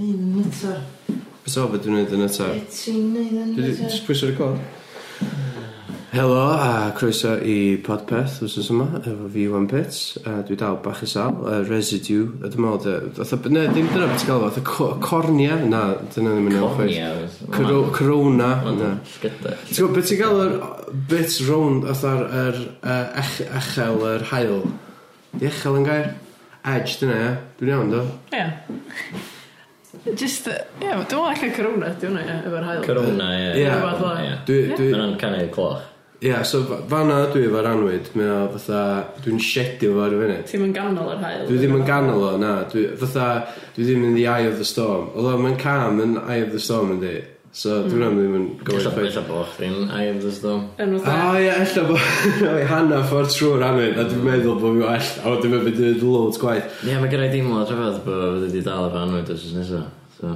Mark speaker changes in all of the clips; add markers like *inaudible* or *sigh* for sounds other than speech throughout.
Speaker 1: eto.
Speaker 2: Beth o, be dwi'n neud yn eto?
Speaker 1: Be ti'n neud yn
Speaker 3: Dwi 'di
Speaker 1: eto?
Speaker 3: jyst pwyso record.
Speaker 2: Helo a croeso i Podpeth wsos yma efo fi Iwan Pits a dwi dal bach i sal, uh, residue, a dwi'n meddwl, dy- fatha, ne, dim dyna beth ti'n gael fatha co- cornea, na, dyna ddim yn iawn chwaith. Coro- Corona, na.
Speaker 4: Sgydach.
Speaker 2: Ti'n gwybod, beth ti'n gael yr bit round fatha'r yr, uh, ech- echel, yr hael? Di echel yn gair? Edge, dyna, ia? Dwi'n iawn, do?
Speaker 5: Ie. Just, yy, ie, yeah, dwi'n meddwl allan corona, dwi'n meddwl, ie, efo'r hael.
Speaker 4: Corona, ie.
Speaker 2: Ie.
Speaker 5: Rhywbeth fel 'na.
Speaker 4: Ie.
Speaker 2: Dwi,
Speaker 5: Ie.
Speaker 2: dwi,
Speaker 4: Mae'n o'n canu cloch.
Speaker 2: Ia, so fa- fan'na dwi efo'r anwyd, mae o fatha, dwi'n shedio fo ar y funud.
Speaker 5: Ti'n mynd ganol yr hael.
Speaker 2: Dwi ddim yn ganol o, na, dwi, fatha, dwi ddim yn the eye of the storm. Ola, mae'n calm yn eye of the storm yn di. So, dwi'n mm. ddim yn gofyn
Speaker 4: Ella
Speaker 2: chwaith.
Speaker 4: ella bo chdi'n Eye of the Storm.
Speaker 5: Yn
Speaker 2: O
Speaker 5: fatha,
Speaker 2: ia, ella bo, *laughs* o'i hanna ffordd trwy'r anwyd, a dwi'n meddwl bod fi'n well, a dwi'n meddwl bod fi'n dweud loads gwaith.
Speaker 4: Ie, mae gyrra'i dim o trefod bod wedi dal efo anwyd os ys nesaf. So,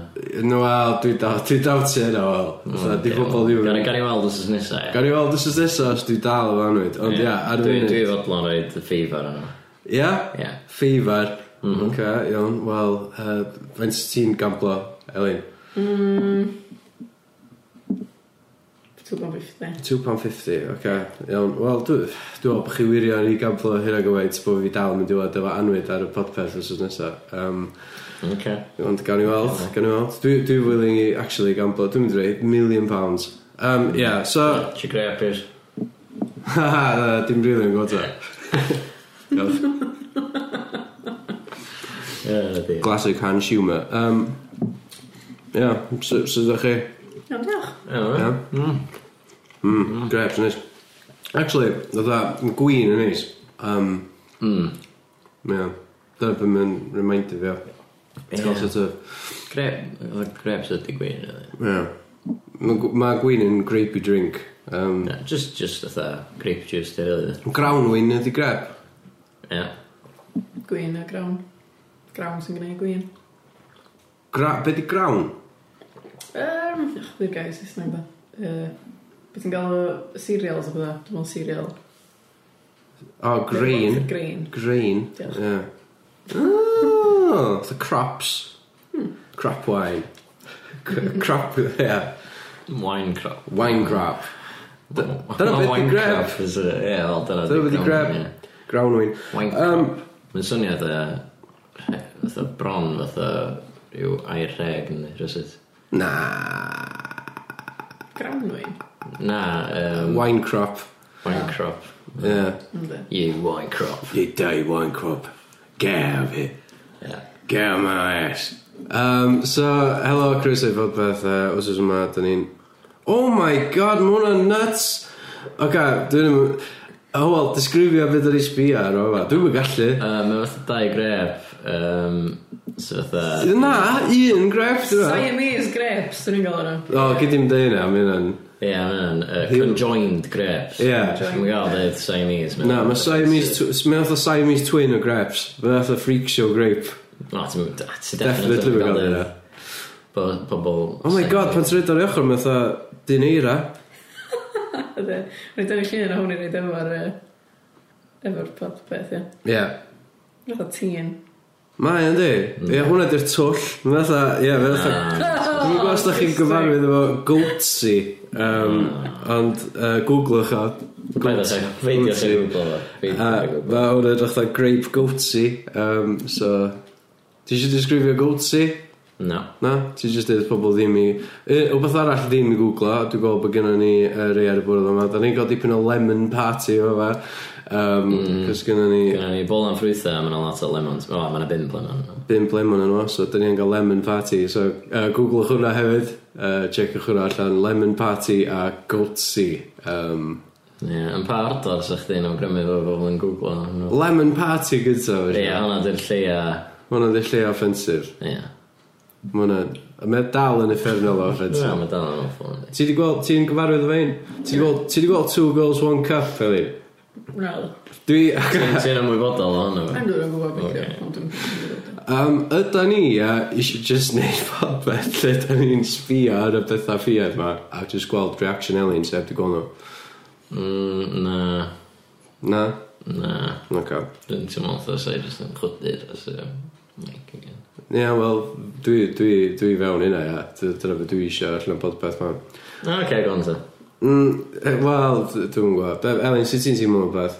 Speaker 2: No, wel, dwi'n dal, dwi'n dal ti yna, Hmm, wel. Fatha, di pobol ddim
Speaker 4: Gan i
Speaker 2: yn...
Speaker 4: gan i weld os ys nesaf, ie.
Speaker 2: Gan i weld, dwi'n nesaf, os dwi'n dal efo anwyd. Ond ia, ar y
Speaker 4: Dwi- Dwi
Speaker 2: funud.
Speaker 4: fodlon roed y ffeif ar yno.
Speaker 2: Ia?
Speaker 4: Ie.
Speaker 2: Feifar. Mm Ok, iawn. Wel, uh, faint sy ti'n gamblo, Elin?
Speaker 5: Dwi'n gwybod beth ydy.
Speaker 2: £2.50, ok. Iawn. Wel, dwi- dwi'n meddwl bod chi wirio i gamblo hynna gyfaint bod fi dal yn mynd i weld efo anwyd ar y podpeth os oes nesaf. Um,
Speaker 4: Oce.
Speaker 2: ond gawn ni weld, gawn ni weld. Dwi, dwi willing i actually gamblo, dwi'n mynd i rei, million pounds. Um, yeah, so... *laughs*
Speaker 4: Ti greu apus?
Speaker 2: Haha, na, dim rili yn *laughs* gwybod o.
Speaker 4: Ie, ydi.
Speaker 2: Classic hand humour. Um, yeah, so, so ydych chi?
Speaker 5: Iawn, diolch.
Speaker 4: Ie,
Speaker 2: Yeah. Mm. Mm. Grapes, nice. Actually, dda, gwyn yn neis. Um,
Speaker 4: Mm.
Speaker 2: yeah. Dyna beth mae'n reminder fi o. It's all sort of,
Speaker 4: Greps ydy gwyn, ydi.
Speaker 2: yeah. Mae gw- ma gwyn yn grapey drink. Um,
Speaker 4: Na, Just, just ytha, grape juice dy rili.
Speaker 2: Grawn wyn ydi grep.
Speaker 4: Ie.
Speaker 5: Gwyn a grawn. Grawn sy'n gwneud gwyn.
Speaker 2: Gra, be di grawn?
Speaker 5: Um, ych, dwi'n gael Saesneg da. Uh, Beth ti'n gael o cereals o bydda? Dwi'n meddwl cereal.
Speaker 2: O, oh, grain.
Speaker 5: Green.
Speaker 2: Grain.
Speaker 5: Diolch.
Speaker 2: Yeah. Oh, the crops. Crap wine. C- Crap, yeah.
Speaker 4: Wine crop.
Speaker 2: Wine crap. D- dyna
Speaker 4: Wel,
Speaker 2: beth 'di
Speaker 4: wine
Speaker 2: grep.
Speaker 4: crop is a- Ie, wel, dyna
Speaker 2: Dyna beth
Speaker 4: di
Speaker 2: di
Speaker 4: crown, ie.
Speaker 2: grep. Grawn wyn.
Speaker 4: Wine
Speaker 2: Um,
Speaker 4: crop. Mae'n swnio dda, fatha bron, fatha yw air rheg yn rhywbeth.
Speaker 2: Na.
Speaker 5: Grawn wyn.
Speaker 4: Na, um,
Speaker 2: Wine crop.
Speaker 4: wine crop.
Speaker 2: Yeah.
Speaker 5: Ynddi.
Speaker 4: You wine crop.
Speaker 2: You die wine crop. Get out of here.
Speaker 4: Yeah.
Speaker 2: Get out of my ass. Um, so, helo, Chris ei fod beth, uh, os oes yma, da ni'n... Oh my god, mae hwnna'n nuts! Ok, dwi'n... Oh, wel, disgrifio beth o'n i sbio ar o fa. Dwi'n mynd gallu.
Speaker 4: Uh, Mae fatha dau grep, um, so fatha...
Speaker 2: Na, un grep, dwi'n
Speaker 5: Siamese grapes, dwi'n gael o'n
Speaker 2: O, gyd i'n deud na, mae hynna'n...
Speaker 4: Ie, yeah, mae'n uh, conjoined grapes.
Speaker 2: Ie.
Speaker 4: Mae'n gael dweud Siamese. ma'
Speaker 2: Na,
Speaker 4: hwnna'n-
Speaker 2: mae Siamese... tw- Mae oedd Siamese twin o greps. Mae oedd freak show grape.
Speaker 4: No, ti'n ti definitely
Speaker 2: Definitely
Speaker 4: yn
Speaker 2: fi gael
Speaker 4: gael
Speaker 2: hynna.
Speaker 4: dweud bo- Pobl...
Speaker 2: Oh my god, pan ti'n rhaid o'r ochr, mae'n fatha dineira.
Speaker 5: Ydy. Rhaid yn y llun a hwn i reid efo'r... yy, Efo'r pod beth, ie.
Speaker 2: Ie. Yeah.
Speaker 5: Rhaid o tîn.
Speaker 2: Mae yn di. Ie, yeah, hwnna di'r twll. Mae'n fatha, ie, yeah, mae'n fatha...
Speaker 5: Ah.
Speaker 2: Dwi'n gwybod os da chi'n gyfarwydd efo goatsy, um, ond uh, googlwch o.
Speaker 4: Gwyd o Feidio sy'n gwybod o. Feidio
Speaker 2: Uh,
Speaker 4: sy'n gwybod.
Speaker 2: Mae hwn yn rhaid grape goatsy, um, so... Ti eisiau disgrifio goatsy?
Speaker 4: No.
Speaker 2: Na? Ti eisiau dweud pobl ddim i... Uh, Wbeth arall ddim i googlo, dwi'n gweld bod gennym ni uh, rei ar y bwrdd yma. Da ni'n gael dipyn o lemon party o fa. Um, mm. Cos gennym ni...
Speaker 4: Gynna ni bol am ffrwythau a mae'n lot o lemons. O, mae'n bimp lemon.
Speaker 2: bump lemon yn o, so dyn ni'n cael lemon party. So uh, googlwch hwnna hefyd, uh, checkwch hwnna allan, lemon party a goatsy. Um,
Speaker 4: Ie, yn pa ardor sa chdi'n awgrymu fo bobl yn Google hwnnw?
Speaker 2: lemon party gyda.
Speaker 4: Ie,
Speaker 2: felly.
Speaker 4: hwnna di'r lleia...
Speaker 2: Ma' hwnna di lle offensif.
Speaker 4: Ie.
Speaker 2: Ma' hwnna... Mae dal yn effernol o
Speaker 4: Ie,
Speaker 2: offensif.
Speaker 4: mae dal yn awful. yndi.
Speaker 2: Ti di gweld, ti'n gyfarwydd efo un? Ti di gweld, ti di gweld two girls, one cup, Eli?
Speaker 5: Rhaid.
Speaker 2: Dwi...
Speaker 4: Ti'n ti'n ymwybodol o hwnnw?
Speaker 5: Rhaid dwi'n gwybod beth
Speaker 4: Ocê.
Speaker 5: ydy. Ond dwi'n gwybod.
Speaker 2: Um, yda ni, a eisiau just neud popeth lle da ni'n sbio ar y bethau ffiad ma, a just gweld reaction Elin sef di gweld nhw.
Speaker 4: Mm, Na,
Speaker 2: Na?
Speaker 4: na.
Speaker 2: Okay.
Speaker 4: Dwi'n ti'n meddwl thos ei jyst yn chwydir. os yw.
Speaker 2: Ie, yeah, wel, dwi, dwi, dwi fewn hynna, ia. Dy- Dyna fe dwi eisiau allan o podpeth ma.
Speaker 4: Ok, go on te.
Speaker 2: Mm, e, wel, d- dwi'n gwybod. Be- Elin, sut ti'n teimlo am y peth?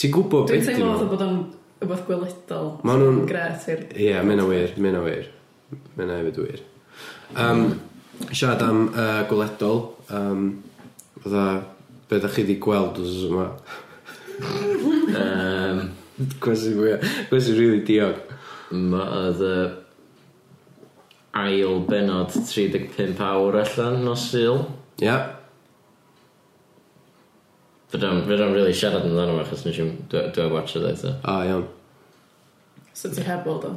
Speaker 2: Ti'n gwybod
Speaker 5: Dwi'n
Speaker 2: beth
Speaker 5: teimlo fatha
Speaker 2: nhw?
Speaker 5: bod o'n rhywbeth gweledol.
Speaker 2: Ma' nhw'n-
Speaker 5: Gret i'r...
Speaker 2: Ie, mynd o wir, mynd o wir. Mynd o hefyd wir. Um, siarad am uh, gweledol. Um, Fydda, be da chi wedi gweld os yma? *laughs*
Speaker 4: Um,
Speaker 2: Gwesi fwy, gwesi rili diog.
Speaker 4: ma oedd y ail benod 35 awr allan o syl.
Speaker 2: Ia, yeah.
Speaker 4: Fydam really siarad amdano fo, achos nes i dwi'n watch it eto.
Speaker 2: a ah, iawn.
Speaker 5: So ti heb bod o.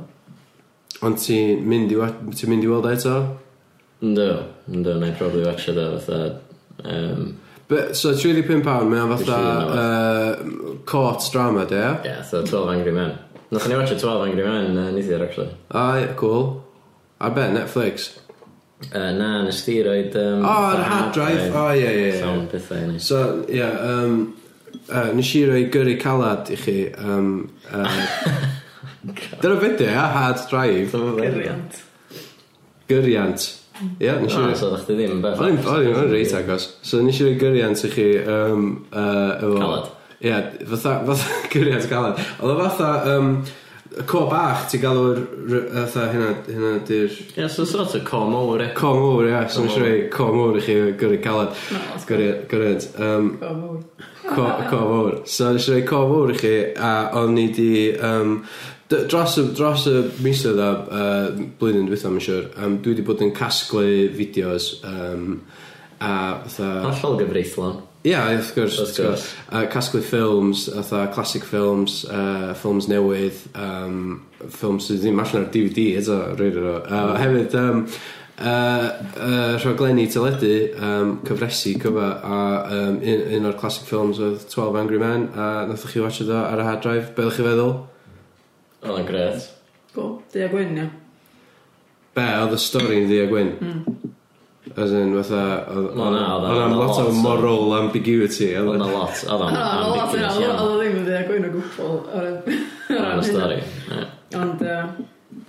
Speaker 2: Ond ti'n mynd, i wa- ti'n mynd i weld o eto?
Speaker 4: Ynddo, ynddo, na i probably watch it o fatha... Um,
Speaker 2: Be, so 35 pound, mae o'n fatha uh, court drama, de? ia?
Speaker 4: yeah, so 12 Angry Men. Nath ni watch it 12 Angry Men uh, neithiwr, actually.
Speaker 2: A, ie, cool. Ar be, Netflix?
Speaker 4: Uh, na, nes ti roed... Um,
Speaker 2: O, ar y hard drive. O, ie, ie, ie.
Speaker 4: Sawn pethau i ni.
Speaker 2: So, ie, um, uh, nes i roi gyrru calad i chi. Um,
Speaker 4: *laughs*
Speaker 2: uh, Dyna beth di, ha, hard drive.
Speaker 5: Geriant.
Speaker 2: Gyrriant. Ie, nes i
Speaker 4: O,
Speaker 2: roi...
Speaker 4: Ah, so ddech chi ddim yn bell.
Speaker 2: O'n i'n- o'n i'n reit agos. So nes i roi gyrriant i chi um, uh, efo...
Speaker 4: Caled.
Speaker 2: Ie, fatha, fatha *laughs* gyrriant calad. Oedd o fatha, um, co bach, ti'n galw'r, r- fatha, hynna, hynna di'r...
Speaker 4: Ie, so sort of com over it.
Speaker 2: Com over, ie, so nes i roi com over i chi gyrru calad.
Speaker 5: No, it's good.
Speaker 2: Gyrru- Gyrruyd. Um,
Speaker 5: Oh, mwy.
Speaker 2: Co, co fawr. So nes i roi co fawr i chi a o'n i di... Um, d- dros, y, dros y misoedd a uh, blwyddyn dwi'n dwi'n siŵr, um, dwi wedi bod yn casglu fideos um, a fatha...
Speaker 4: Hollol gyfreithlon.
Speaker 2: Ia, wrth gwrs, wrth
Speaker 4: Wrth
Speaker 2: gwrs. A casglu ffilms, fatha classic ffilms, uh, ffilms newydd, um, ffilms sydd ddim allan ar DVD eto, rhaid o. Uh, hefyd, um, uh, uh, rhaglenni teledu, um, cyfresu cyfa, a um, un, un o'r classic films oedd 12 Angry Men, a nathach chi watch o ar y hard drive, be ddech chi feddwl?
Speaker 4: Oedd yn gret.
Speaker 5: Cool. Di a gwyn, ia.
Speaker 2: Be, oedd y stori yn ddi a gwyn? As in, fatha... Oedd
Speaker 4: Wel, na, oedd-
Speaker 2: oedd am
Speaker 4: oedd
Speaker 2: lot o
Speaker 4: lot o-
Speaker 2: moral ambiguity.
Speaker 4: Oedd
Speaker 2: Oedd
Speaker 4: yna lot. Oedd
Speaker 5: O,
Speaker 4: yna
Speaker 5: lot yna.
Speaker 4: ambiguous
Speaker 5: Oedd
Speaker 4: iawn.
Speaker 5: o ddim yn di a gwyn o gwbl. Oedd
Speaker 4: Oedd yna stori. Ie.
Speaker 5: Ond, yy,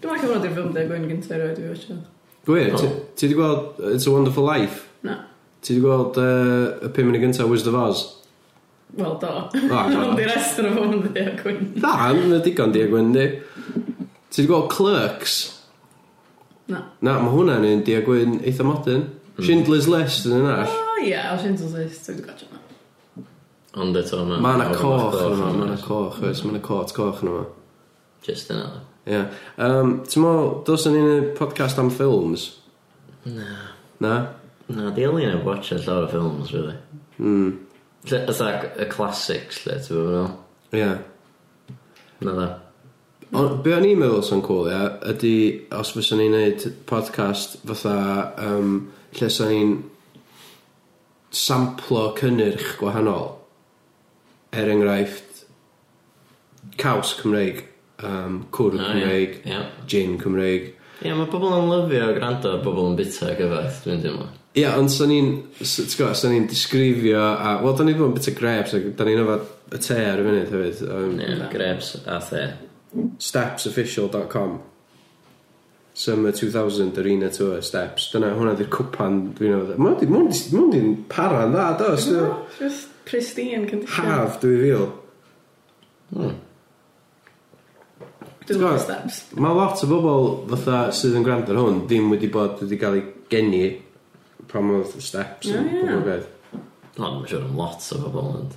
Speaker 5: dwi'n meddwl bod i'r ffilm Deg Wyn gyntaf i roed i watch o.
Speaker 2: Gwyr,
Speaker 4: Oh.
Speaker 2: ti ti 'di gweld uh, It's a Wonderful Life?
Speaker 5: Na.
Speaker 2: Ti 'di gweld uh, y pum munud gyntaf Wizard of Oz?
Speaker 5: Wel, do.
Speaker 2: Ah, do.
Speaker 5: Ond i'r rest o'r ffilm Deg Wyn.
Speaker 2: Na, mae'n digon di agwyn, di. Ti 'di gweld Clerks?
Speaker 5: Na.
Speaker 2: Na, mae hwnna'n un di agwyn eitha modern. Schindler's List yn un arall.
Speaker 5: O, ie, a Shinzo's List. Dwi'n gotcha na.
Speaker 4: Ond eto yma...
Speaker 2: Mae yna Oh, coch yn yma, mae yna coch, oes, mae yna cort coch yn yma.
Speaker 4: Just yna.
Speaker 2: Ie. Um, Ti'n meddwl, dos yn un podcast am ffilms? Na.
Speaker 4: Na, di Elin yn watch a llawer o ffilms, really.
Speaker 2: Mm.
Speaker 4: Lle- Fatha y classics, lle, ti'n bod yn ôl?
Speaker 2: Ie.
Speaker 4: Na dda.
Speaker 2: Ond be o'n i'n meddwl sy'n cool, ia, ydy os fyswn ni'n neud podcast fatha um, lle sy'n ni'n samplo cynnyrch gwahanol. Er enghraifft, caws Cymreig, um, cwrw
Speaker 4: Na, ie.
Speaker 2: Cymreig,
Speaker 4: Ah, Ie.
Speaker 2: gin Cymreig.
Speaker 4: Ie, mae pobl yn lyfio gwrando ar bobl yn bita gyfath, dwi'n teimlo.
Speaker 2: Ia, ond sy'n ni'n, s- ti'n gwybod, sy'n ni'n disgrifio, a, wel, da ni fod yn bit o grapes, ac da ni'n yfad y te ar y funud hefyd. Um,
Speaker 4: Ie, grebs a the.
Speaker 2: stepsofficial.com Summer 2000 Arena Tour Steps Dyna hwnna di'r cwpan dwi'n meddwl Mae hwnna di- ma' hwnna di- ma' hwnna di'n para'n dda do os dwi'n-
Speaker 5: Just pristine condition.
Speaker 2: Haf 2000
Speaker 5: Dwi'n gwybod steps.
Speaker 2: Mae lot o bobl fatha sydd yn gwrando ar hwn Ddim wedi bod wedi cael ei geni Pam oedd steps yn
Speaker 5: Ie, ie.
Speaker 2: boblogaeth
Speaker 4: O, dwi'n siŵr am lot o bobl yn.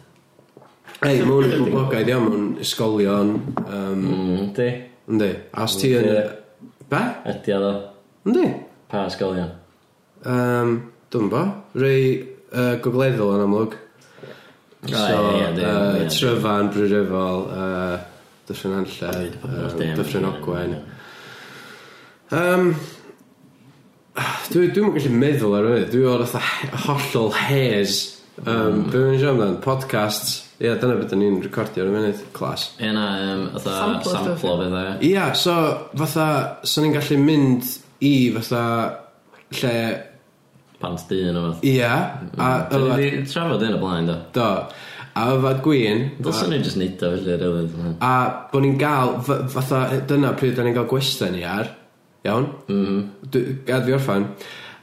Speaker 2: Ei, mae hwn yn boblogaeth iawn Mae hwn ysgolion um,
Speaker 4: Mm, di.
Speaker 2: Yndi A os ti yn Be?
Speaker 4: Ydi o ddo.
Speaker 2: Yndi
Speaker 4: Pa ysgolion?
Speaker 2: um, Dwi'n bo Rei uh, gogleddol yn amlwg So, uh, Tryfan, Bryrefol, uh, Dyffryn Anlle, um, Dyffryn Ogwen. Um, Dwi'n dwi gallu meddwl ar hynny. Dwi o'r fatha he- hollol haze. Um, mm. Be mae'n siarad amdan? Podcasts. Ie, yeah, dyna beth ni'n recordio ar y munud. Clas.
Speaker 4: Ie na, yym, fatha
Speaker 5: Samplo stuff,
Speaker 4: samplo fydd e.
Speaker 2: Ie, yeah, so fatha, so ni'n gallu mynd i fatha lle...
Speaker 4: Pant dyn o fath.
Speaker 2: Ie, yeah, a...
Speaker 4: Mm. Dyn ni 'di trafod hyn o blaen, do.
Speaker 2: Do. A yfa gwyn...
Speaker 4: Dylswn i just neud o felly rili.
Speaker 2: A bod ni'n gael, f- fatha, dyna pryd da ni'n gael gwestiwn ni ar, iawn? Mm -hmm. Gad fi orffan.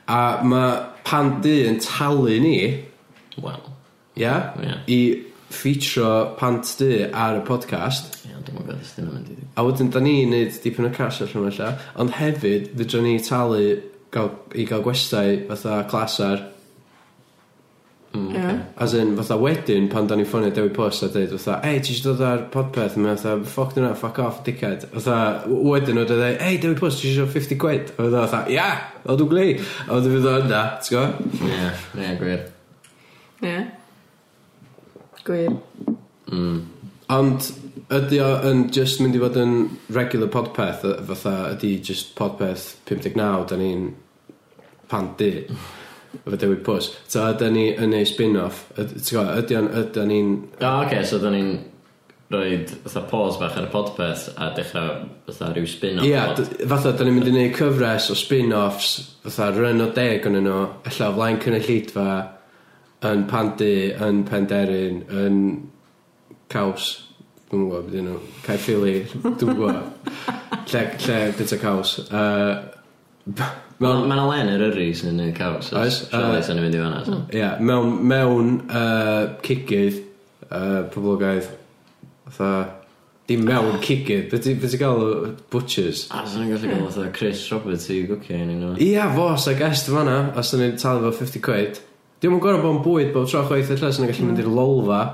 Speaker 2: A mae pan du yn talu ni,
Speaker 4: Wel,
Speaker 2: ia?
Speaker 4: Ie.
Speaker 2: I ffeitio pant du ar y podcast.
Speaker 4: ie, dwi'n gwybod os dyn nhw'n mynd i
Speaker 2: A wedyn, da ni'n neud dipyn o cash allan o'n lla. Ond hefyd, dydyn ni talu gael, i gael gwestiau fatha clasar. Mm,
Speaker 5: Ie.
Speaker 2: As in, fatha wedyn, pan da ni'n ffonio Dewi Post a dweud, fatha, ei, ti eisiau dod ar podpeth? Mae'n fatha, ffoc dyna, ffoc off, dickhead. Fatha, w- wedyn o dweud, ei, Dewi Post, ti eisiau 50 quid? A fatha, fatha, ia, o dwi'n glei. A wedyn fydd o yna, ti'n gwybod?
Speaker 4: Ie, ie, gwir.
Speaker 5: Ie. Gwir.
Speaker 2: Ond ydy o yn just mynd i fod yn regular podpeth, y- fatha, ydy just podpeth 59, da ni'n pan di. Efo Dewi Post. Ta, da ni yn ei spin-off. Yd- Ti'n gwybod, ydy o'n, ydy ni'n...
Speaker 4: O, oh, oce, okay, so da ni'n rhoi fatha pause bach ar y podpeth a dechrau fatha rhyw spin-off.
Speaker 2: Ie,
Speaker 4: pod.
Speaker 2: d- fatha, da ni'n mynd i neud cyfres o spin-offs, fatha run o deg o'n nhw, ella o flaen cynnyllidfa, yn Pandy, yn Penderin, yn Caws, dwi'n gwybod beth nhw, Caerffili, dwi'n gwybod, lle, lle bit o Caws. Uh,
Speaker 4: Mae
Speaker 2: mewn,
Speaker 4: yna len yr yri sy'n y
Speaker 2: Oes,
Speaker 4: caws. Oes.
Speaker 2: yy, hmm.
Speaker 4: Sialais yn mynd i fanna. so.
Speaker 2: yeah, mewn, mewn uh, cigydd, uh, poblogaidd, fatha, dim mewn cigydd, beth ti'n gael o butchers?
Speaker 4: A sy'n ni'n gallu gael fatha Chris Roberts i gwcio yn un o.
Speaker 2: Ia, fo, sa gest yn fanna, os dyn ni'n talu fo 50 quid. Diolch yn gorau bod yn bwyd bob tro chwaith allan, sy'n gallu mynd i'r lolfa.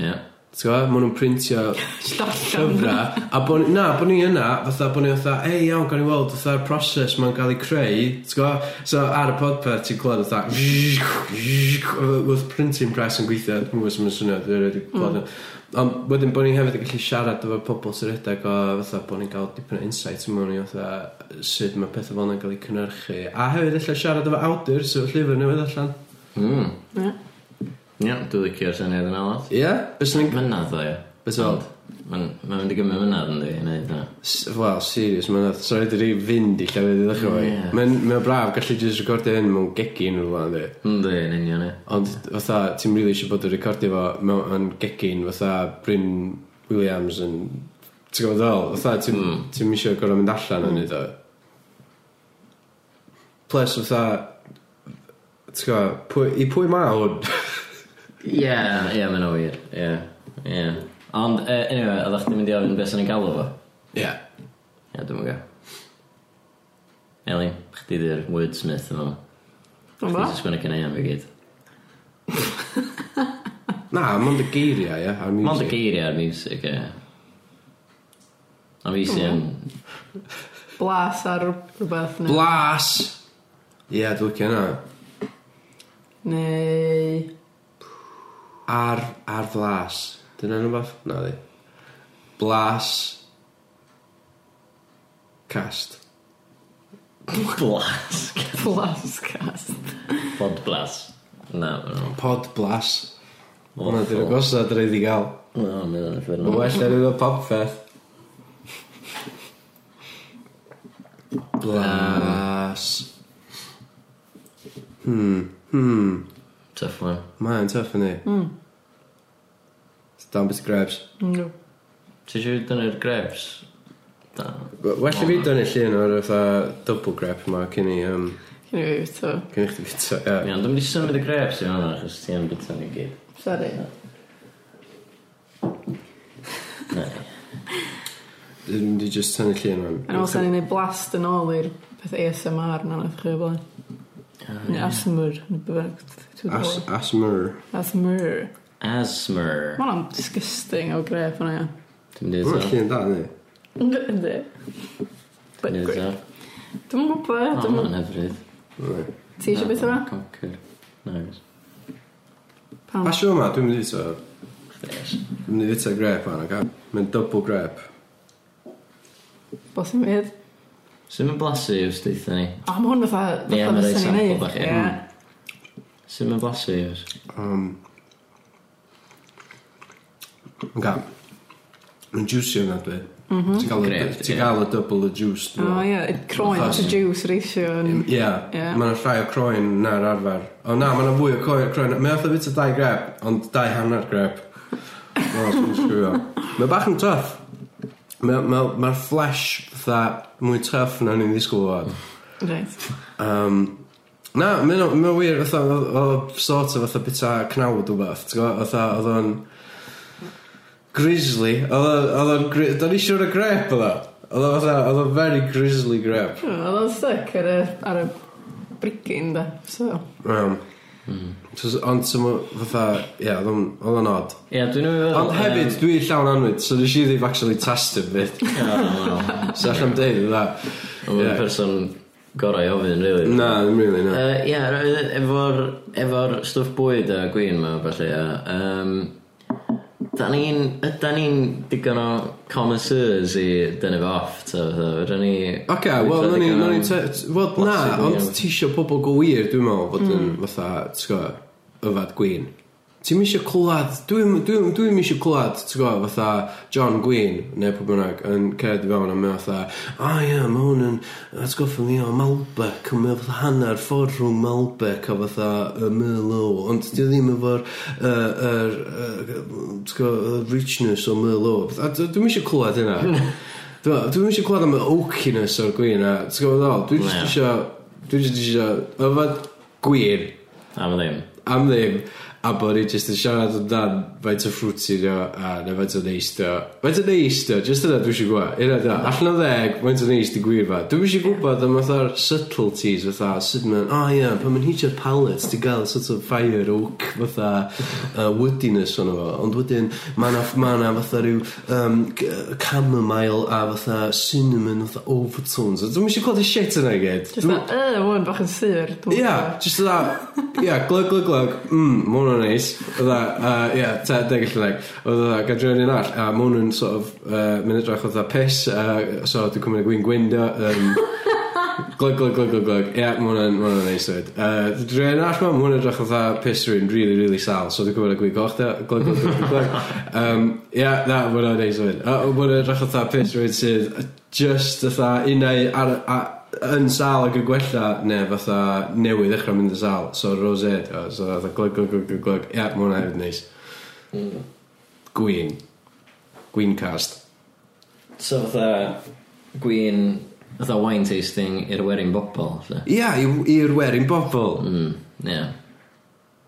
Speaker 4: Ie.
Speaker 2: T'w gwybod, maen nhw'n printio llyfra. A bod ni, na, bod ni yna, fatha, bod ni fatha, ei iawn, gan i weld, fatha'r proses ma'n cael ei creu. T'w gwybod, so ar y podpeth ti'n clywed fatha, wrth printing press yn gweithio, dwi'n gwybod sy'n swnio, dwi'n rhaid i clywed. hyn. Ond wedyn bod ni hefyd yn gallu siarad efo pobl sy'n redeg o fatha bod ni'n cael dipyn o insight mewn i fatha sut mae pethau fel yna'n cael eu cynhyrchu. A hefyd efallai siarad efo awdur sy'n llyfr newydd allan.
Speaker 4: Mm.
Speaker 5: Ie.
Speaker 4: Ie, dwi'n licio'r syniad yna lot.
Speaker 2: Ie? Bys ni'n...
Speaker 4: Mynydd o, ie.
Speaker 2: Bys o'n...
Speaker 4: Mae'n mae'n mynd i gymryd mynydd yn di, i wneud yna.
Speaker 2: S- Wel, serious, mae'n dweud. Sorry, dwi wedi fynd i llefydd i ddechrau fwy.
Speaker 4: Ie.
Speaker 2: Mae'n mae'n braf gallu jyst recordio hyn mewn gegin rhywle, ynddi.
Speaker 4: Yndi, yn union, ie.
Speaker 2: Ond fatha, ti'n rili really eisiau bod yn recordio fo mewn yn gegin, fatha Bryn Williams yn... Ti'n gwybod fel? Fatha, ti'n mm. ti eisiau gorau mynd allan yn neud o. Plus, fatha... Ti'n gwybod, pwy, i pwy ma hwn?
Speaker 4: Ie, ie, mae'n o wir. Ie, ie. Ond, eh, anyway, oeddech chi'n mynd i ofyn beth sy'n ei galw fo?
Speaker 2: Ie.
Speaker 4: Ie, dwi'n mwyn gael. Eli, chdi di'r wordsmith yma.
Speaker 5: Ond
Speaker 4: Chdi
Speaker 5: bo?
Speaker 4: di'r sgwini cynnau am fi gyd.
Speaker 2: Na, mond y geiriau, ie, ar music.
Speaker 4: Mond y geiriau ar music, ie. A fi sy'n...
Speaker 5: Blas ar rhywbeth neu...
Speaker 2: Blas! Ie, dwi'n licio hynna.
Speaker 5: Neu... *laughs*
Speaker 2: Ar, ar flas. Dyna rhywbeth? Na di. Blas. Cast.
Speaker 4: Blas. *laughs*
Speaker 5: Blascast.
Speaker 4: Bod blas. Na, mae'n rong.
Speaker 2: Pod blas. Hwna di'r gosod rhaid i gael.
Speaker 4: Na, mae'n rong ffyrdd.
Speaker 2: Mae well ar efo popfeth. Blas. Hmm,
Speaker 4: Tough one.
Speaker 2: Mae'n tough yn ei. Mm. Dan bit grabs.
Speaker 5: No.
Speaker 4: Ti eisiau dynnu'r grebs? Da.
Speaker 2: Well i fi dynnu llun o'r fatha double grab ma cyn i... Um,
Speaker 5: Cyn i fi to.
Speaker 2: cyn i chdi bita. ie.
Speaker 4: Iawn, dwi'n mynd i symud y grebs i fanna, achos ti am bit o'n i gyd.
Speaker 5: Sorry.
Speaker 2: Dwi'n mynd i just tynnu llun o'n...
Speaker 5: Yn ôl sa'n ni'n neud blast yn ôl i'r peth ASMR na nath chi o blaen. Neu ASMR. neu be bynnag. Dwi'n
Speaker 2: As,
Speaker 5: gwbod.
Speaker 2: asmer.
Speaker 5: ASMR.
Speaker 4: Asmer.
Speaker 5: Mae hwnna'n disgusting o gref hwnna.
Speaker 4: Ti'n mynd i
Speaker 2: Mae'n
Speaker 4: eto?
Speaker 2: llun da, ni.
Speaker 5: Ynddi.
Speaker 4: Ti'n mynd i eto?
Speaker 5: Dwi'n gwybod,
Speaker 4: O,
Speaker 5: dwi'n
Speaker 4: mae'n hyfryd.
Speaker 5: Ti eisiau beth yma?
Speaker 4: Conquer. Nagos.
Speaker 5: Pam?
Speaker 2: A siw ma, dwi'n mynd i to.
Speaker 4: Yes.
Speaker 2: Dwi'n mynd i fita grep fan, oga? Mae'n double grep.
Speaker 5: Bos i'n mynd?
Speaker 4: Sut mae'n blasu yw steitha ni?
Speaker 5: O, mae hwn fatha...
Speaker 4: Ie,
Speaker 5: fatha
Speaker 4: mae'n rhaid
Speaker 5: fysan
Speaker 4: sample
Speaker 5: ni'n neud.
Speaker 4: bach, ie.
Speaker 5: Ie.
Speaker 4: Sut mae'n blasu yw?
Speaker 2: Um, oga. Mae'n juicy yna dwi. Ti'n gael y-
Speaker 4: Grêt, ie.
Speaker 2: ti'n gael y double the juice. dwi'n
Speaker 5: O
Speaker 2: meddwl.
Speaker 5: ie, y croen to juice ratio yn...
Speaker 2: Ie,
Speaker 5: Ie.
Speaker 2: mae yna llai o croen na'r arfer. O na, mae yna fwy o croen. croen. Mae oedd bit o dau greb, ond dau hanner greb. O, dwi'n sgwio. Mae bach yn tough. Mae'r ma, ma ma'r flesh fatha mwy tough na ni'n ddisgwyl o.
Speaker 5: Reit.
Speaker 2: Um, na, mae'n ma wir, fatha, oedd- oedd sort of fatha bita cnawd o beth, ti'n gwybod, fatha, oedd o'n grizzly, Oedd o- oedd o'n, gri- da ni siwr o grep oedd o, oedd o'n fatha, oedd o'n very grizzly grep.
Speaker 5: O, Oedd o'n stuck ar y, ar y brigyn, da. So,
Speaker 2: Um, mm. Ond sy'n fatha, ie, yeah, oedd o'n odd.
Speaker 4: Ie, dwi'n meddwl...
Speaker 2: Ond hefyd, dwi llawn anwyd, so nes i ddim actually testyn bit. So allan deud, dda.
Speaker 4: Mae'n
Speaker 2: Ie.
Speaker 4: person gorau ofyn, really.
Speaker 2: Na, ddim really,
Speaker 4: Yy,
Speaker 2: na.
Speaker 4: Ie, r- efo'r efo'r stwff bwyd a gwin ma, falle, a... Um, Da ni'n da ni'n digon o connoisseurs i dynnu fo off, ta fatha, fydda ni...
Speaker 2: Oce, wel, na ni, na ni, te- t- wel, na,
Speaker 4: Classic,
Speaker 2: ond
Speaker 4: ie.
Speaker 2: ti isio pobl go wir, dwi'n meddwl, fod yn fatha, ti'n gwybod, yfad gwyn. Ti'n misio clywed, dwi'n dwi, dwi misio clywed, ti'n gwybod, fatha John Gwyn, neu pwy bynnag, yn cered i fewn a mewn fatha, a oh, ie, mae hwn yn, atgoffa mi o Malbec, a mae fatha hanner ffordd rhwng Malbec a fatha y Merlot, ond dio ddim efo'r, yy, yr, yy, ti'n gwybod, y richness o Merlot. A d- Dwi'n misio clywed hynna. Dwi'n dwi misio clywed am y oakiness o'r gwyn, a ti'n gwybod, dwi'n
Speaker 4: Na.
Speaker 2: just isio, dwi'n just isio, yfad gwyn,
Speaker 4: A ma ddim.
Speaker 2: am ddim a bod ni jyst yn siarad amdan faint o ffrwti dio a neu faint o neis dio faint o neis dio jyst yna dwi eisiau gwybod yna dio allan o ddeg faint o neis di gwir fa dwi eisiau gwybod am fatha'r subtleties fatha sut mae'n o oh, ie pan mae'n hitio'r palette di gael sort of fire oak fatha uh, woodiness o'n fo ond wedyn mae na, ma na fatha rhyw um, c- yy, chamomile a fatha cinnamon fatha overtones dwi eisiau gweld y shit yna i gyd
Speaker 5: just
Speaker 2: Dwi'm-
Speaker 5: that, y, o'n bach yn sur. dwi'n
Speaker 2: Ia, just yna, ia, glug, glug, glug, mm, ma hwnna'n neis. Yna, uh, ia, te, deg allan deg. Oedd yna, gadw yn un all, a ma hwnna'n sort of, uh, mynd edrych oedd piss, uh, so dwi'n cymryd gwyn gwyndio. Um, glug, glug, glug, glug, glug. Ia, ma hwnna'n ma hwnna'n neis dweud. Uh, dwi'n un all ma, ma hwnna'n edrych oedd piss rhywun really, really sal, so dwi'n cymryd gwyn goch, glug, glug, glug, glug, glug. Um, ia, na, ma hwnna'n neis dweud. Uh, ma hwnna'n edrych oedd piss rhywun sydd just fatha unau ar, a, yn sal ag y gwella neu fatha newydd ddechrau mynd yn sal so rosé dio, so fatha glug glug glug glug glug ia mae hwnna hefyd neis gwyn gwyn cast
Speaker 4: So fatha gwin, fatha wine tasting i'r werin bobl, so.
Speaker 2: ia i- i'r werin bobl
Speaker 4: Mm, ie.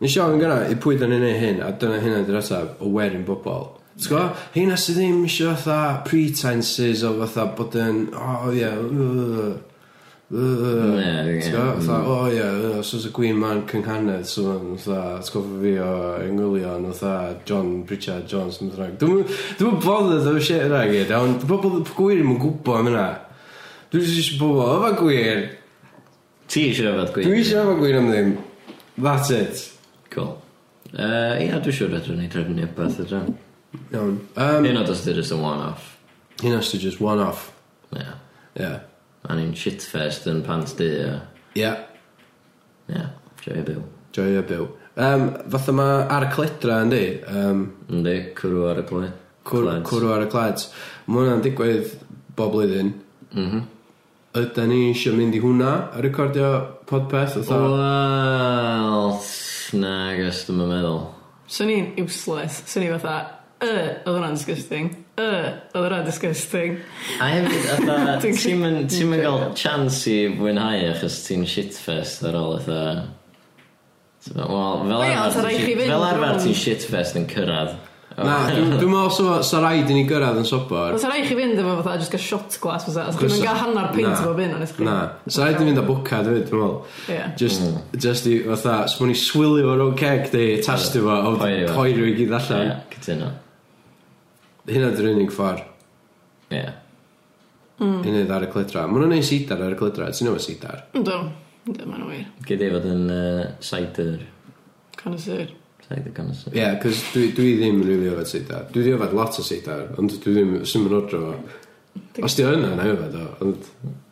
Speaker 2: Nes i ofyn gynna, i pwy dyn ni'n neud hyn, a dyna hynna dy'r atab, o werin bobl. T'w go? Hynna sydd ddim eisiau fatha pretenses o fatha bod yn, o oh, ie, yeah,
Speaker 4: Ie, ie.
Speaker 2: T'w go? Fatha, o ie, yy, os oes y gwyn ma'n cynghanedd, so ma'n fatha, atgoffa fi o engwylion, fatha John Richard Jones, yn ddrag. Dwi'n bothered o'r shit yna i gyd, ond pobl gwir ddim yn gwybod am yna. Dwi'n eisiau pobl, o fa gwir,
Speaker 4: Ti eisiau fod gwin?
Speaker 2: dwi eisiau fa gwir am ddim. That's it.
Speaker 4: Cool. Uh, ia, dwi'n siŵr edrych ni drefnu beth ydyn.
Speaker 2: Iawn. Um,
Speaker 4: Un o dos dyd is a one-off.
Speaker 2: Hyn os ti just one off.
Speaker 4: Ie. Yeah.
Speaker 2: Yeah.
Speaker 4: A ni'n shitfest yn pant di, ie.
Speaker 2: Yeah.
Speaker 4: Ie, joio byw.
Speaker 2: Joio byw. Um, fatha ma ar y cledra yndi, um,
Speaker 4: Yndi, cwrw ar y cle.
Speaker 2: cwr,
Speaker 4: Cleds.
Speaker 2: cwrw ar y cleds. Mae hwnna'n digwydd bob blwyddyn.
Speaker 4: Mhm.
Speaker 2: Yda ni eisiau mynd i hwnna a recordio podpeth o tha.
Speaker 4: Wel, na, gos dwi'n meddwl.
Speaker 5: Swn i'n useless. Swn i fatha, y, oedd hwnna'n disgusting. Y, oedd hwnna'n disgusting.
Speaker 4: A hefyd,
Speaker 2: *laughs*
Speaker 4: atha,
Speaker 5: Dwi'n
Speaker 4: ti'm yn ti'm yn cael chance i fwynhau achos ti'n shitfest ar ôl atha... T'bo, Wel, fel
Speaker 5: Wel, sa
Speaker 4: arfer ti'n
Speaker 5: raid chi
Speaker 4: shit-
Speaker 5: fynd
Speaker 4: fel arfer
Speaker 5: rownd.
Speaker 4: ti'n shitfest yn cyrraedd.
Speaker 2: Na, dwi'n dwi'n meddwl sa- sa rhaid i ni gyrraedd yn sobor.
Speaker 5: Os rai chi fynd efo fatha, just gael shot glass fysa. Os
Speaker 2: Chris-
Speaker 5: dwi'n gael hanner
Speaker 2: Na.
Speaker 5: pint efo byn, ond ysgrifennu.
Speaker 2: Na, sa rhaid i fynd â bwca dwi'n meddwl.
Speaker 5: Ie.
Speaker 2: Just, just i, fatha, os mwyn i swilio o'r own keg di, tastio fo, o
Speaker 4: Poeri fo.
Speaker 2: poerio i gyd
Speaker 4: Ie,
Speaker 2: allan.
Speaker 4: cytuno.
Speaker 2: Hynna dwi'n unig ffordd.
Speaker 4: Ie.
Speaker 5: Hmm.
Speaker 2: I neud ar y cledra. Mae hwnna'n neud seidar ar y cledra. Ti'n newid seidar?
Speaker 5: Ynddo. Ynddo, mae'n wir.
Speaker 4: Gyd i fod yn uh, cider.
Speaker 5: Can y sur.
Speaker 4: Cider connoisseur.
Speaker 2: Ie, yeah, cos dwi, dwi ddim yn rili ofad seidar. Dwi wedi ofad lot o seidar, ond dwi ddim sy'n mynd odro fo. Os di yna, na ofad o. Ond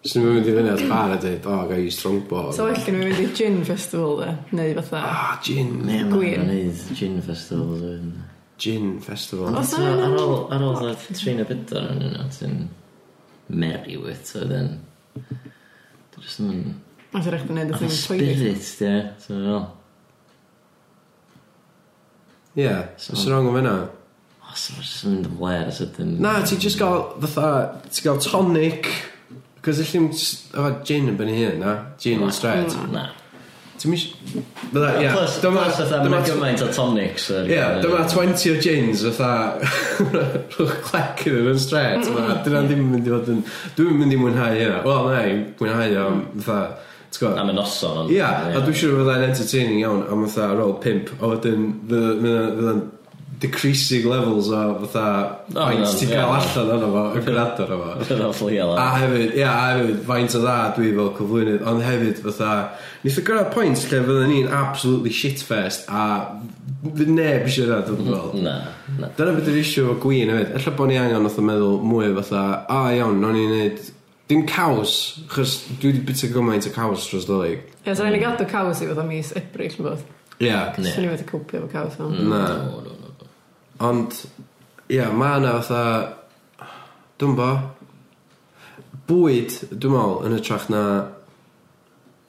Speaker 2: sy'n mynd i fyny at bar a dweud, o, gai i strongbo.
Speaker 5: So well, gen i fynd i gin festival, de. Neu fatha.
Speaker 2: Ah, gin.
Speaker 4: Ie,
Speaker 5: Gwir.
Speaker 4: mae'n neud gin festivals.
Speaker 2: gin festival.
Speaker 5: O,
Speaker 4: Ond
Speaker 5: so
Speaker 4: t'mo',
Speaker 5: hynna'n-
Speaker 4: Ar ôl, ar ôl y trin o bydar yn yna, ti'n merry with, so then... Dwi'n just yn...
Speaker 5: A ti'n rhaid gwneud y
Speaker 4: Oedd
Speaker 5: thing
Speaker 4: yn
Speaker 5: toilet.
Speaker 4: spirit, ie. So, fel,
Speaker 2: Ie, os wrong am hynna.
Speaker 4: o, so ma'n just yn mynd yn blair a sydyn.
Speaker 2: Na, ti just gael fatha, ti gael tonic, cos ydych chi'n efo gin yn benni hyn, na?
Speaker 5: Hmm.
Speaker 2: Gin yn straight.
Speaker 4: Na.
Speaker 2: Ti'n mis... Fydda, ie.
Speaker 4: Plus,
Speaker 2: dyma-
Speaker 4: plus, fatha,
Speaker 2: dyma
Speaker 4: mae
Speaker 2: tw-
Speaker 4: gymaint o tonics. ar-
Speaker 2: Ie, dyma 20 o gins, fatha, *laughs* rhwch clec iddyn nhw'n stret, ma, dyna ddim yn mynd i fod yn, dwi'n ddim yn mynd i mwynhau hynna. Wel, na, i mwynhau o, fatha, ti'n gwybod?
Speaker 4: Am y noson, ond...
Speaker 2: Ie, a
Speaker 4: *laughs*
Speaker 2: dwi'n siŵr fydda'n entertaining iawn am fatha ar ôl pimp, a wedyn fydda- fydda- fydda'n decreasing levels o fatha
Speaker 4: O,
Speaker 2: faint
Speaker 4: ie,
Speaker 2: ti'n cael
Speaker 4: ie.
Speaker 2: allan ono fo, y gwrando ono fo.
Speaker 4: Fydd o'n fflio
Speaker 2: A
Speaker 4: la.
Speaker 2: hefyd, ia, a hefyd, faint o dda dwi fel cyflwynydd, ond hefyd fatha, nith o gyrraedd pwynt lle fydden ni'n absolutely shitfest a fydd neb eisiau yna dwi'n gweld.
Speaker 4: Na, na.
Speaker 2: Dyna beth yw'r issue o gwyn hefyd. Ella bod ni angen oedd meddwl mwy fatha, a iawn, no'n i'n neud, dim caws, chos dwi wedi bita gymaint o caws dros ddolig.
Speaker 5: Ie, so rhaid ni gadw caws i fod am mis ebryll yn bod.
Speaker 2: Ie, Mm.
Speaker 4: Ne.
Speaker 5: Cos ni wedi cwpio efo caws am.
Speaker 2: na.
Speaker 4: No, no, no.
Speaker 2: Ond, ia, mae yna fatha, dwi'n bo, bwyd, dwi'n meddwl, yn hytrach na,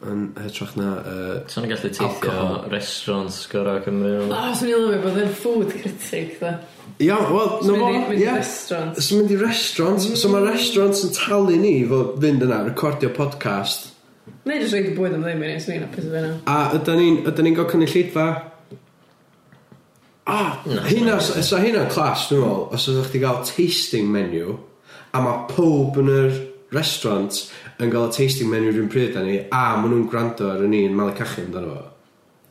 Speaker 2: yn hytrach na, uh,
Speaker 4: Sa'n gallu teithio
Speaker 2: Alcohol.
Speaker 4: restaurants gorau Cymru?
Speaker 5: O, swn i'n lyfio bod yn food critic, da.
Speaker 2: Ia, wel,
Speaker 5: Swn
Speaker 2: no
Speaker 5: i'n
Speaker 2: fo,
Speaker 5: mynd i
Speaker 2: ia.
Speaker 5: restaurant.
Speaker 2: Os mynd i restaurants, so mae restaurants yn talu ni fod fynd yna, recordio podcast,
Speaker 5: Neu jyst rhaid i bwyd am ddim i ni, swn i'n apus o fe na.
Speaker 2: a ydyn ni'n ni gael cynulleidfa, Ah, hynna, sa hynna'n clas, dwi'n meddwl, os ydych chi gael tasting menu, a mae pob yn yr restaurant yn gael y tasting menu rhywun pryd â ni, a maen nhw'n gwrando ar y ni'n malu cachu amdano fo.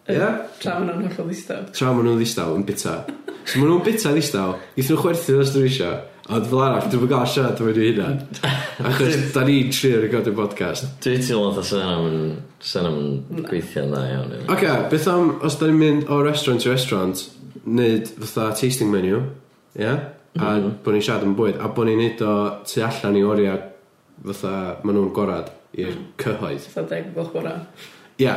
Speaker 2: Ie? Yeah?
Speaker 5: Tra ma'n nhw'n hollol ddistaw.
Speaker 2: Tra maen nhw'n ddistaw yn bita. So maen nhw'n bita ddistaw, gethon nhw chwerthu os dwi isio. Ond fel arall, dwi'n gael siarad am hynny hynna. Achos da ni'n trio recordio podcast.
Speaker 4: Dwi'n teimlo dda sy'n am yn... Sy'n am yn gweithio'n dda iawn.
Speaker 2: Oce, okay, beth am os da ni'n mynd o restaurant i restaurant, neud fatha tasting menu, ie? Yeah? A bod ni'n siarad am bwyd, a bod ni'n neud o tu allan i oriau fatha maen nhw'n gorad i'r cyhoedd.
Speaker 5: Sa deg o gloch bora.
Speaker 2: Ie,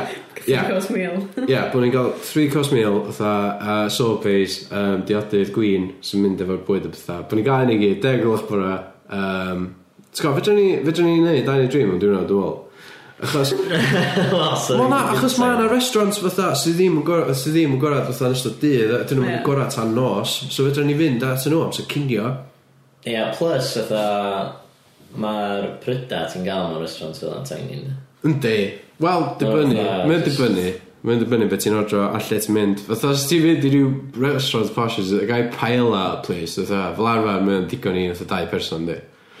Speaker 2: ie,
Speaker 5: Caws meal.
Speaker 2: ie, bod ni'n cael 3 course meal, fatha uh, sorbets, um, diodydd, gwyn, sy'n mynd efo'r bwyd a bethau. Bod ni'n cael hynny gyd, 10 gloch bora. Um, T'w gwybod, fedrwn ni, fedrwn ni neud, da'n ei dream yn dwi'n rhaid, dwi'n meddwl. Achos,
Speaker 4: *laughs*
Speaker 2: Wel na, achos mae yna restaurant fatha sydd ddim yn gorau, sydd ddim yn gorau fatha yn ystod dydd, dyn nhw'n
Speaker 5: Ie.
Speaker 2: gorau tan nos, so fedrwn ni fynd at nhw amser cinio.
Speaker 4: Ie, plus, fatha... Mae'r pryda ti'n gael mewn restaurant fel yn tiny. yndi?
Speaker 2: Yndi. Wel, dibynnu,
Speaker 4: Fatha,
Speaker 2: mae'n
Speaker 4: jyst-
Speaker 2: dibynnu. Mae'n dibynnu beth ti'n ordro a lle ti'n mynd. Fatha, os ti'n fynd i ryw restaurant poshes, y gai paella place, fatha, fel arfer mae'n digon i fatha dau person, di.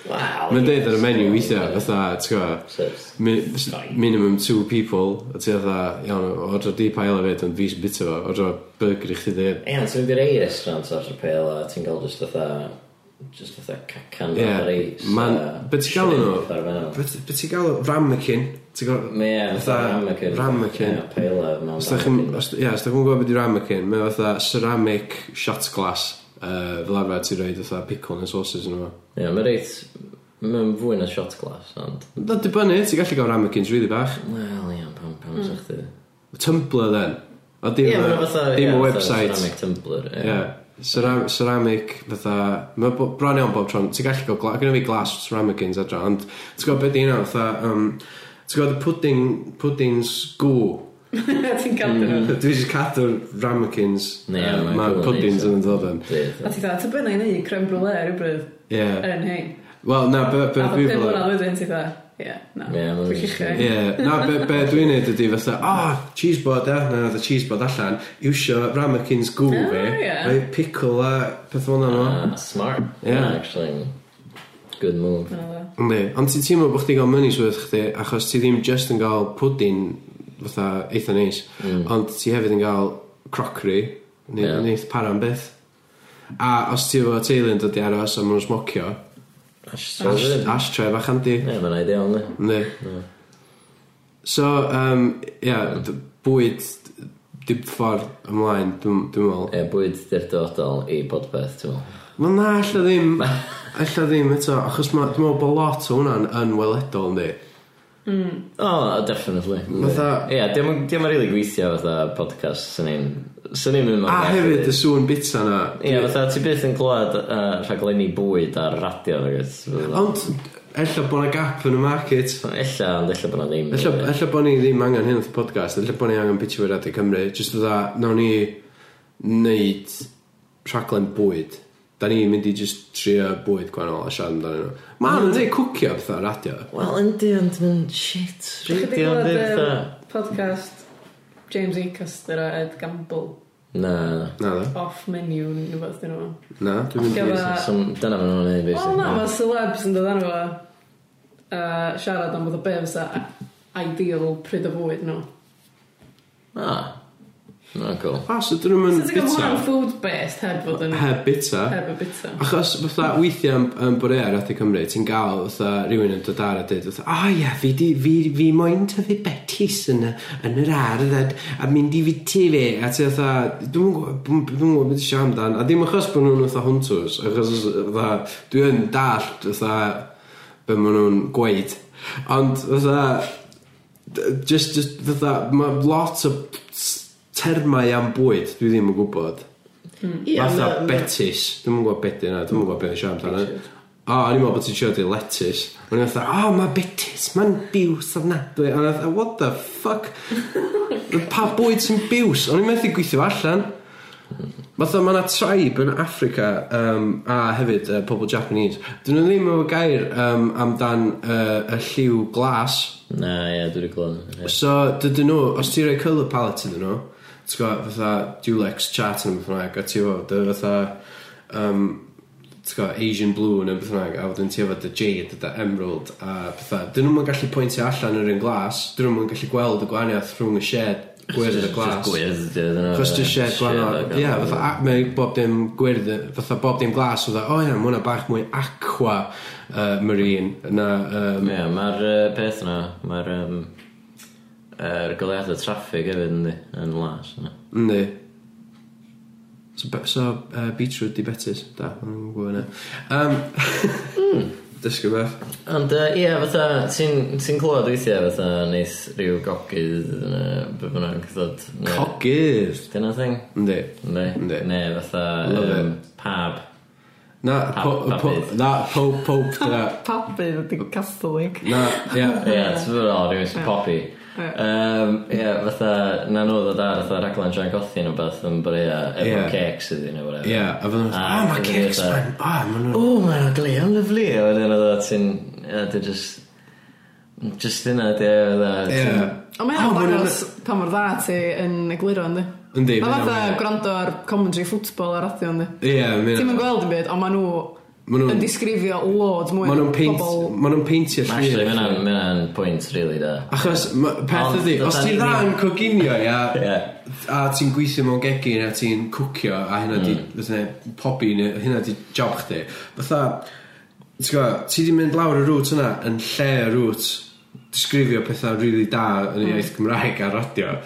Speaker 4: Wow.
Speaker 2: Mae'n deud ar y menu weithiau, fatha, ti'n gwybod,
Speaker 4: Sut?
Speaker 2: Mi- s- Minimum two people A ti fatha, iawn, ordro di paella fyd Ond fi sy'n bita fo, ordro burger i chdi dy hun.
Speaker 4: Ie, ond ti'n mynd i rei restaurants ar y pêl a ti'n gael just fatha... Just fatha cacan
Speaker 2: Ie,
Speaker 4: ar reis.
Speaker 2: ma'n- be ti'n galw nhw?
Speaker 4: nhw?
Speaker 2: Beth beth ti'n gael o ramekin? Ti'n gael
Speaker 4: Ie, fatha
Speaker 2: Fatha
Speaker 4: ramekin.
Speaker 2: ramekin.
Speaker 4: Ie, pêl a mewn
Speaker 2: Os da chi'n
Speaker 4: ramekin.
Speaker 2: os- ie, os da chi'n gwybod beth i ramekin, mae fatha ceramic shot glass uh, fel arfer ti'n rhaid fatha pickle and sauces yn yma.
Speaker 4: Ie, mae'n reit... Mae'n fwy na shot glass, ond...
Speaker 2: Da dibynnu, ti'n gallu gael ramekins really bach.
Speaker 4: Wel, ie, pam, pam mm. chdi.
Speaker 2: Tumblr then. O dim
Speaker 4: Ie,
Speaker 2: y-
Speaker 4: mae'n fatha...
Speaker 2: dim
Speaker 4: ie,
Speaker 2: y
Speaker 4: fatha
Speaker 2: website.
Speaker 4: Ceramic tumbler, ie.
Speaker 2: Ie. Cera- Ceramic fatha... Mae bo- bron iawn bob tron. Ti'n gallu gael glas... Gynna fi glas ceramicins adra, ond ti'n gwybod beth di hynna fatha... Um, ti'n gwybod y pudding, pudding's goo.
Speaker 5: *laughs* Ti'n cadw nhw.
Speaker 2: Dwi eisiau cadw'r ramekins.
Speaker 4: Ie,
Speaker 2: uh,
Speaker 4: mae'n
Speaker 2: Ma'r
Speaker 4: cool,
Speaker 2: puddings
Speaker 4: neis.
Speaker 2: yn ddod yn.
Speaker 5: A
Speaker 4: Dydd.
Speaker 5: ti'n dda, ta bynna i neud creme brulee rhywbryd
Speaker 2: Ie.
Speaker 5: yn hein.
Speaker 2: Wel, na, be, be
Speaker 5: A pa
Speaker 2: dwi fel...
Speaker 5: pum mlynedd wedyn ti'n dda. Ie, na.
Speaker 4: Ie, ma'n
Speaker 5: Dwi'n
Speaker 4: jyst-
Speaker 5: chichau.
Speaker 2: Ie, na, be, be dwi'n neud ydy fatha, a, oh, cheeseboard, eh, na, nath y cheeseboard allan, iwsio ramekins gŵ
Speaker 5: Ah,
Speaker 2: fi,
Speaker 5: ie.
Speaker 2: rhoi pickle a peth fel yna.
Speaker 4: Ah, smart.
Speaker 2: Ie.
Speaker 4: Yeah. Actually, good move.
Speaker 2: Ynddi, ond ti'n teimlo bod chdi gael money's worth chdi, achos ti ddim just yn gael pwdin, fatha, eitha neis, ond ti hefyd yn gael crockery, neu
Speaker 4: Mm. Ie.
Speaker 2: yeah. neith paran beth. A os ti efo teulu yn dod i aros a maen nhw'n smocio,
Speaker 4: Ashton.
Speaker 2: ashtray fach handi.
Speaker 4: Ie, mae'n ideal, ne?
Speaker 2: Ynddi. So, um, ia, yeah, bwyd, dim ffordd ymlaen, dwi'n dwi'n meddwl.
Speaker 4: E, bwyd di'r dyfodol i podpeth, ti'n meddwl.
Speaker 2: Wel na, alla ddim, alla ddim eto, achos ma- dwi'n meddwl bod lot o hwnna'n yn weledol, ynddi.
Speaker 4: O, oh, definitely.
Speaker 2: Fatha-
Speaker 4: Ie, yeah, dim yn rili gweithio fatha podcast sy'n ein Swn i'n mynd
Speaker 2: A
Speaker 4: mewn
Speaker 2: hefyd y
Speaker 4: categori.
Speaker 2: sŵn bitsa na.
Speaker 4: Ie, fatha ti byth yn clywed uh, rhaglenni bwyd ar radio nag oes?
Speaker 2: Ond, ella bod yna gap yn y market.
Speaker 4: Ella, ond ella bod na ddim.
Speaker 2: Ella, ella bod ni ddim angen hyn o'r podcast, ella bod ni angen pitio fe Radio Cymru. Just dda, nawn ni wneud rhaglen bwyd. Da ni'n mynd i just trio bwyd gwannol a siarad amdano nhw. Ma' nhw'n neud cwcio pethau radio.
Speaker 4: Wel, yndi, ond yn shit.
Speaker 5: Dach chi 'di
Speaker 4: Radio,
Speaker 5: clywed,
Speaker 4: yndi,
Speaker 5: yym,
Speaker 4: fatha.
Speaker 5: Podcast James Acaster a Ed Gamble
Speaker 4: Na,
Speaker 2: Na dda,
Speaker 5: off menu neu beth dyn nhw.
Speaker 2: na, dwi'n mynd i...
Speaker 5: Gyfa-
Speaker 4: na. Some- Dyna fan nhw'n ei
Speaker 5: Wel na, mae celebs yn dod arno fo a siarad am bod y be fysa ideal pryd o fwyd nhw.
Speaker 4: Ah. Na, cool.
Speaker 2: A, so dyn nhw'n
Speaker 5: So
Speaker 2: mynd
Speaker 5: ti'n gwybod hwnna'n
Speaker 2: bita.
Speaker 5: food based heb fod yn
Speaker 2: Hmm, Heb bita.
Speaker 5: heb y bita.
Speaker 2: Achos fatha weithiau yn, yn borea ar Radio Cymru, ti'n gael fatha rhywun yn dod ar a dweud fatha, a ia, fi, di, fi, fi moyn tyfu betis yn, y, yn yr ardd a, a mynd i fiti fi. A ti fatha, dwi'n gwybod beth i siarad amdan. A dim achos bod nhw'n fatha hontws, achos fatha, dwi'n dallt fatha be maen nhw'n gweud. Ond fatha, d- just, just fatha, mae lot o termau am bwyd, dwi ddim yn gwybod.
Speaker 4: Ie,
Speaker 2: Fatha
Speaker 4: ma-
Speaker 2: betis. Dwi'n yn gwybod beth yna, dwi'n yn gwybod beth yna siarad amdano. O, o'n i'n meddwl bod ti'n siarad i lettuce. O'n i'n fatha, o, mae betis, mae'n biws ofnadwy. O'n i'n fatha, what the fuck? Pa bwyd sy'n biws? O'n i'n methu gweithio allan. Fatha, mae yna tribe yn Africa, um, a hefyd uh, pobl Japanese. Dyn nhw ddim efo gair um, amdan uh, y lliw glas.
Speaker 4: Na, ie, dwi wedi clywed. Ie.
Speaker 2: So, dydyn nhw, os ti'n rhoi colour palette iddyn nhw, ti'n gwybod, fatha, Dulex chart yn beth bynnag, a ti'n gwybod, dy fatha, um, ti'n gwybod, Asian blue yn beth bynnag, a wedyn ti'n gwybod, dy jade, dy emerald, a bethau. Dyn nhw'n gallu pwyntio allan yr un glas, dyn nhw'n gallu gweld y gwahaniaeth rhwng y shed, gwyrdd y glas.
Speaker 4: Gwyrdd, ie, dyna.
Speaker 2: Cos dy shed gwahanol, ie,
Speaker 4: um,
Speaker 2: fatha, a- mae bob dim gwyrdd, fatha bob dim glas, fatha, o ie, mae hwnna bach mwy aqua uh, marine, na, um,
Speaker 4: Ie, mae'r yy, peth yna, mae'r um, er goleadau traffig hefyd yndi, yn las yna.
Speaker 2: Yndi. So, be- so uh, beetroot di betis. Da, yn gwybod yna. Um, *laughs* Dysgu beth.
Speaker 4: Ond yy, Hmm. ie, fatha, ti'n ti clywed weithiau fatha neith rhyw gogydd yna, be bynnag, ddod. ne-
Speaker 2: Cogydd.
Speaker 4: Dyna thing?
Speaker 2: Yndi.
Speaker 4: Ne,
Speaker 2: Yndi.
Speaker 4: ne fatha
Speaker 2: Love
Speaker 4: yym, pab.
Speaker 2: Na,
Speaker 4: Pa-
Speaker 2: po,
Speaker 4: pa
Speaker 2: po,
Speaker 4: bydd?
Speaker 2: na, pope, pope, da.
Speaker 5: Papu ydy Catholic.
Speaker 2: Na, ia.
Speaker 4: Ie, ti'n fawr o, rhywun sy'n popi.
Speaker 5: Ie.
Speaker 4: Um, ie, fatha, na nhw ddod ar fatha raglen John Gothi neu beth yn brea efo
Speaker 2: Ie.
Speaker 4: cakes ydyn neu whatever.
Speaker 2: Ia, a fydden nhw,
Speaker 4: Ah,
Speaker 2: oh, mae
Speaker 4: dyna
Speaker 2: cakes,
Speaker 4: ni,
Speaker 2: man. Ah, ma' nhw-
Speaker 4: O, mae'n ogli, yn lyflu. A wedyn oedd o, ti'n... A dy just... Just yna, dy...
Speaker 2: Ie.
Speaker 5: Ond mae'n
Speaker 2: Oh, ma' nhw'n-
Speaker 5: dangos pa mor dda ti yn egluro yndi.
Speaker 2: Yndi,
Speaker 5: Mae
Speaker 2: ma' hwnna'n
Speaker 5: fatha
Speaker 2: wir.
Speaker 5: gwrando ar commentary ffwtbol ar radio yndi.
Speaker 2: Ie,
Speaker 5: Ti'n yn
Speaker 2: mae'n...
Speaker 5: gweld yn byd, ond maen nhw
Speaker 2: Ma' nhw'n-
Speaker 5: yn disgrifio loads mwy
Speaker 2: Ma' nhw'n
Speaker 5: o
Speaker 2: peint,
Speaker 5: bobl-
Speaker 2: ma' nhw'n peintio
Speaker 4: Actually,
Speaker 2: llun.
Speaker 4: mae'n mae'n pwynt, really, da.
Speaker 2: Achos, ma- peth
Speaker 4: Ond
Speaker 2: ydi, os
Speaker 4: dydan
Speaker 2: ti'n
Speaker 4: ni
Speaker 2: dda
Speaker 4: ddim-
Speaker 2: yn coginio, ia,
Speaker 4: Ie.
Speaker 2: a ti'n gweithio mewn gegin a ti'n cwcio a hynna di, mm. popi, neu hynna di job chdi. Fytha, ti'n gwybod, ti di mynd lawr y rŵt yna yn lle y rŵt disgrifio pethau rili really da yn y iaith Cymraeg ar radio.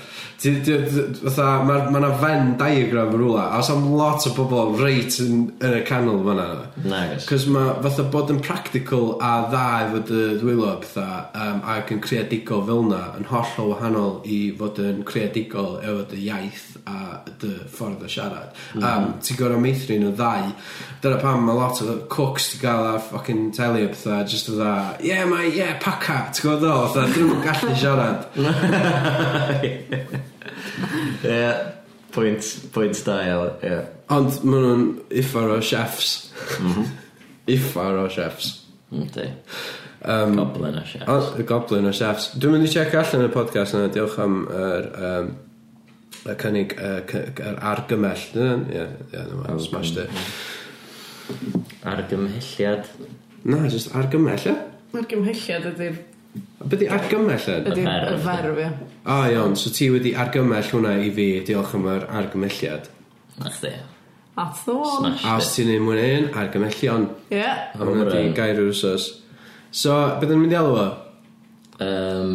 Speaker 2: Ti- ti- ti- Fatha, mae ma yna fen diagram yn rwla, a os am lot o bobl reit yn, yn y canol fyna.
Speaker 4: Nagos.
Speaker 2: Cos mae fatha bod yn practical a dda efo dy ddwylo a pethau um, ac yn creadigol fel yna yn hollol wahanol i fod yn creadigol efo dy iaith a dy ffordd o siarad. Mm -hmm. um, ti'n gorau meithri nhw ddau. Dyna pam mae lot o cooks ti gael ar ffocin teli a pethau just o dda, yeah, mae, yeah, paca, ti'n gwybod o, dda, dyn nhw'n gallu siarad.
Speaker 4: Ie. Pwynt, pwynt da, iawn, ie.
Speaker 2: Ond maen nhw'n iffar o chefs. iffar o chefs.
Speaker 4: Yndi. Goblin o
Speaker 2: O,
Speaker 4: siarad.
Speaker 2: y goblin o chefs. Dwi'n mynd i check allan y podcast yna, diolch am yr... Um, y cynnig, y cy- yr argymell. Ie, ie, ie, dyma, smashed it.
Speaker 4: Argymhelliad.
Speaker 2: Na, just argymell, ie?
Speaker 5: Mae'r gymhelliad ydy'r
Speaker 2: Be di argymell yn?
Speaker 5: ydy
Speaker 4: ferf,
Speaker 5: y
Speaker 4: yndi.
Speaker 5: ferf, ie.
Speaker 2: O, iawn, so ti wedi argymell hwnna i fi, diolch am yr argymelliad.
Speaker 4: Nath di.
Speaker 5: That's the one.
Speaker 2: A os
Speaker 4: Smash it.
Speaker 2: ti'n ei mwyn un, argymellion.
Speaker 5: Ie.
Speaker 2: A hwnna di
Speaker 4: Hwran.
Speaker 2: gair wsos. So, beth yn mynd i alw o?
Speaker 4: Um,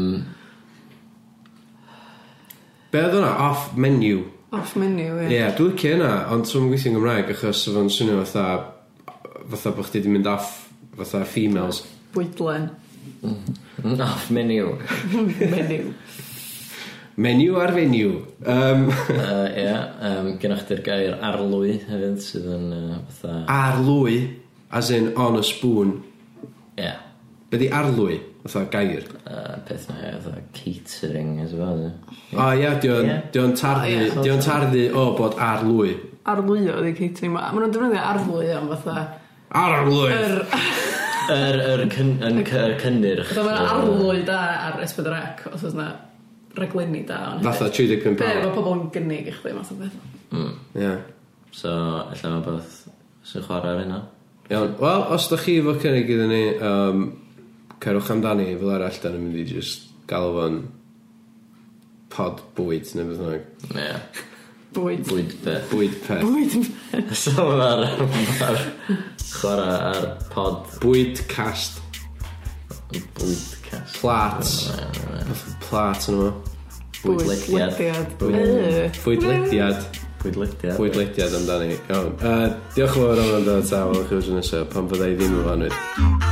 Speaker 2: Be oedd hwnna? Off menu.
Speaker 5: Off menu,
Speaker 2: Ie,
Speaker 5: ie.
Speaker 2: yeah, dwi'n licio hynna, ond dwi'n gweithio'n Gymraeg achos fo'n swnio fatha fatha bod chdi wedi mynd off fatha females.
Speaker 5: Bwydlen.
Speaker 4: off menu.
Speaker 5: Menu.
Speaker 2: Menu ar fenyw. Um,
Speaker 4: Uh, Ie, um, gennych chi'r gair arlwy hefyd sydd yn uh, fatha...
Speaker 2: *laughs* arlwy, as in on a spoon.
Speaker 4: Ie,
Speaker 2: Be di arlwy? Fatha gair.
Speaker 4: uh, peth na, ie, fatha catering, as well.
Speaker 2: O ia, di o'n
Speaker 4: Ie.
Speaker 2: di o'n
Speaker 5: O,
Speaker 2: tarddu,
Speaker 5: ie.
Speaker 2: di o'n tarddu o bod arlwy.
Speaker 5: Arlwyo ydi catering ma. Mae nhw'n defnyddio arlwyo am fatha...
Speaker 2: Arlwy!
Speaker 5: Yr...
Speaker 4: Yr er, cyn, yn cy- yr cynnyrch.
Speaker 5: Fatha mae'n arlwy da ar S4C, os oes na reglenni da. ond
Speaker 2: Fatha
Speaker 5: hefyd-
Speaker 2: 35
Speaker 5: Be, mae
Speaker 2: pound.
Speaker 5: pobl yn gynnig i chdi, math o beth.
Speaker 2: Ie.
Speaker 4: So, allan mae beth sy'n chwarae ar hynna.
Speaker 2: Iawn. Wel, os da chi fo cynnig iddyn ni, um, cerwch amdani, fel arall, da ni'n mynd i just galw fo'n pod bwyd, neu beth bynnag.
Speaker 4: Ie,
Speaker 5: Bwyd.
Speaker 4: bwyd beth.
Speaker 2: Bwyd peth.
Speaker 5: Bwyd.
Speaker 4: *laughs* So, mae'r ma'r chwarae ar pod
Speaker 2: Bwyd cast.
Speaker 4: bwyd cas.
Speaker 2: Plats. Plat yn yma.
Speaker 5: Bwyd
Speaker 4: Bwydlediad.
Speaker 5: lediad.
Speaker 4: Bwyd-
Speaker 5: Yy.
Speaker 2: Bwydlediad.
Speaker 4: Bwydlediad.
Speaker 2: Bwydlediad amdani. Iawn. Uh, diolch yn fawr am wrando, ta, welwch chi wythnos nesaf pan fyddai ddim yn fanwyd.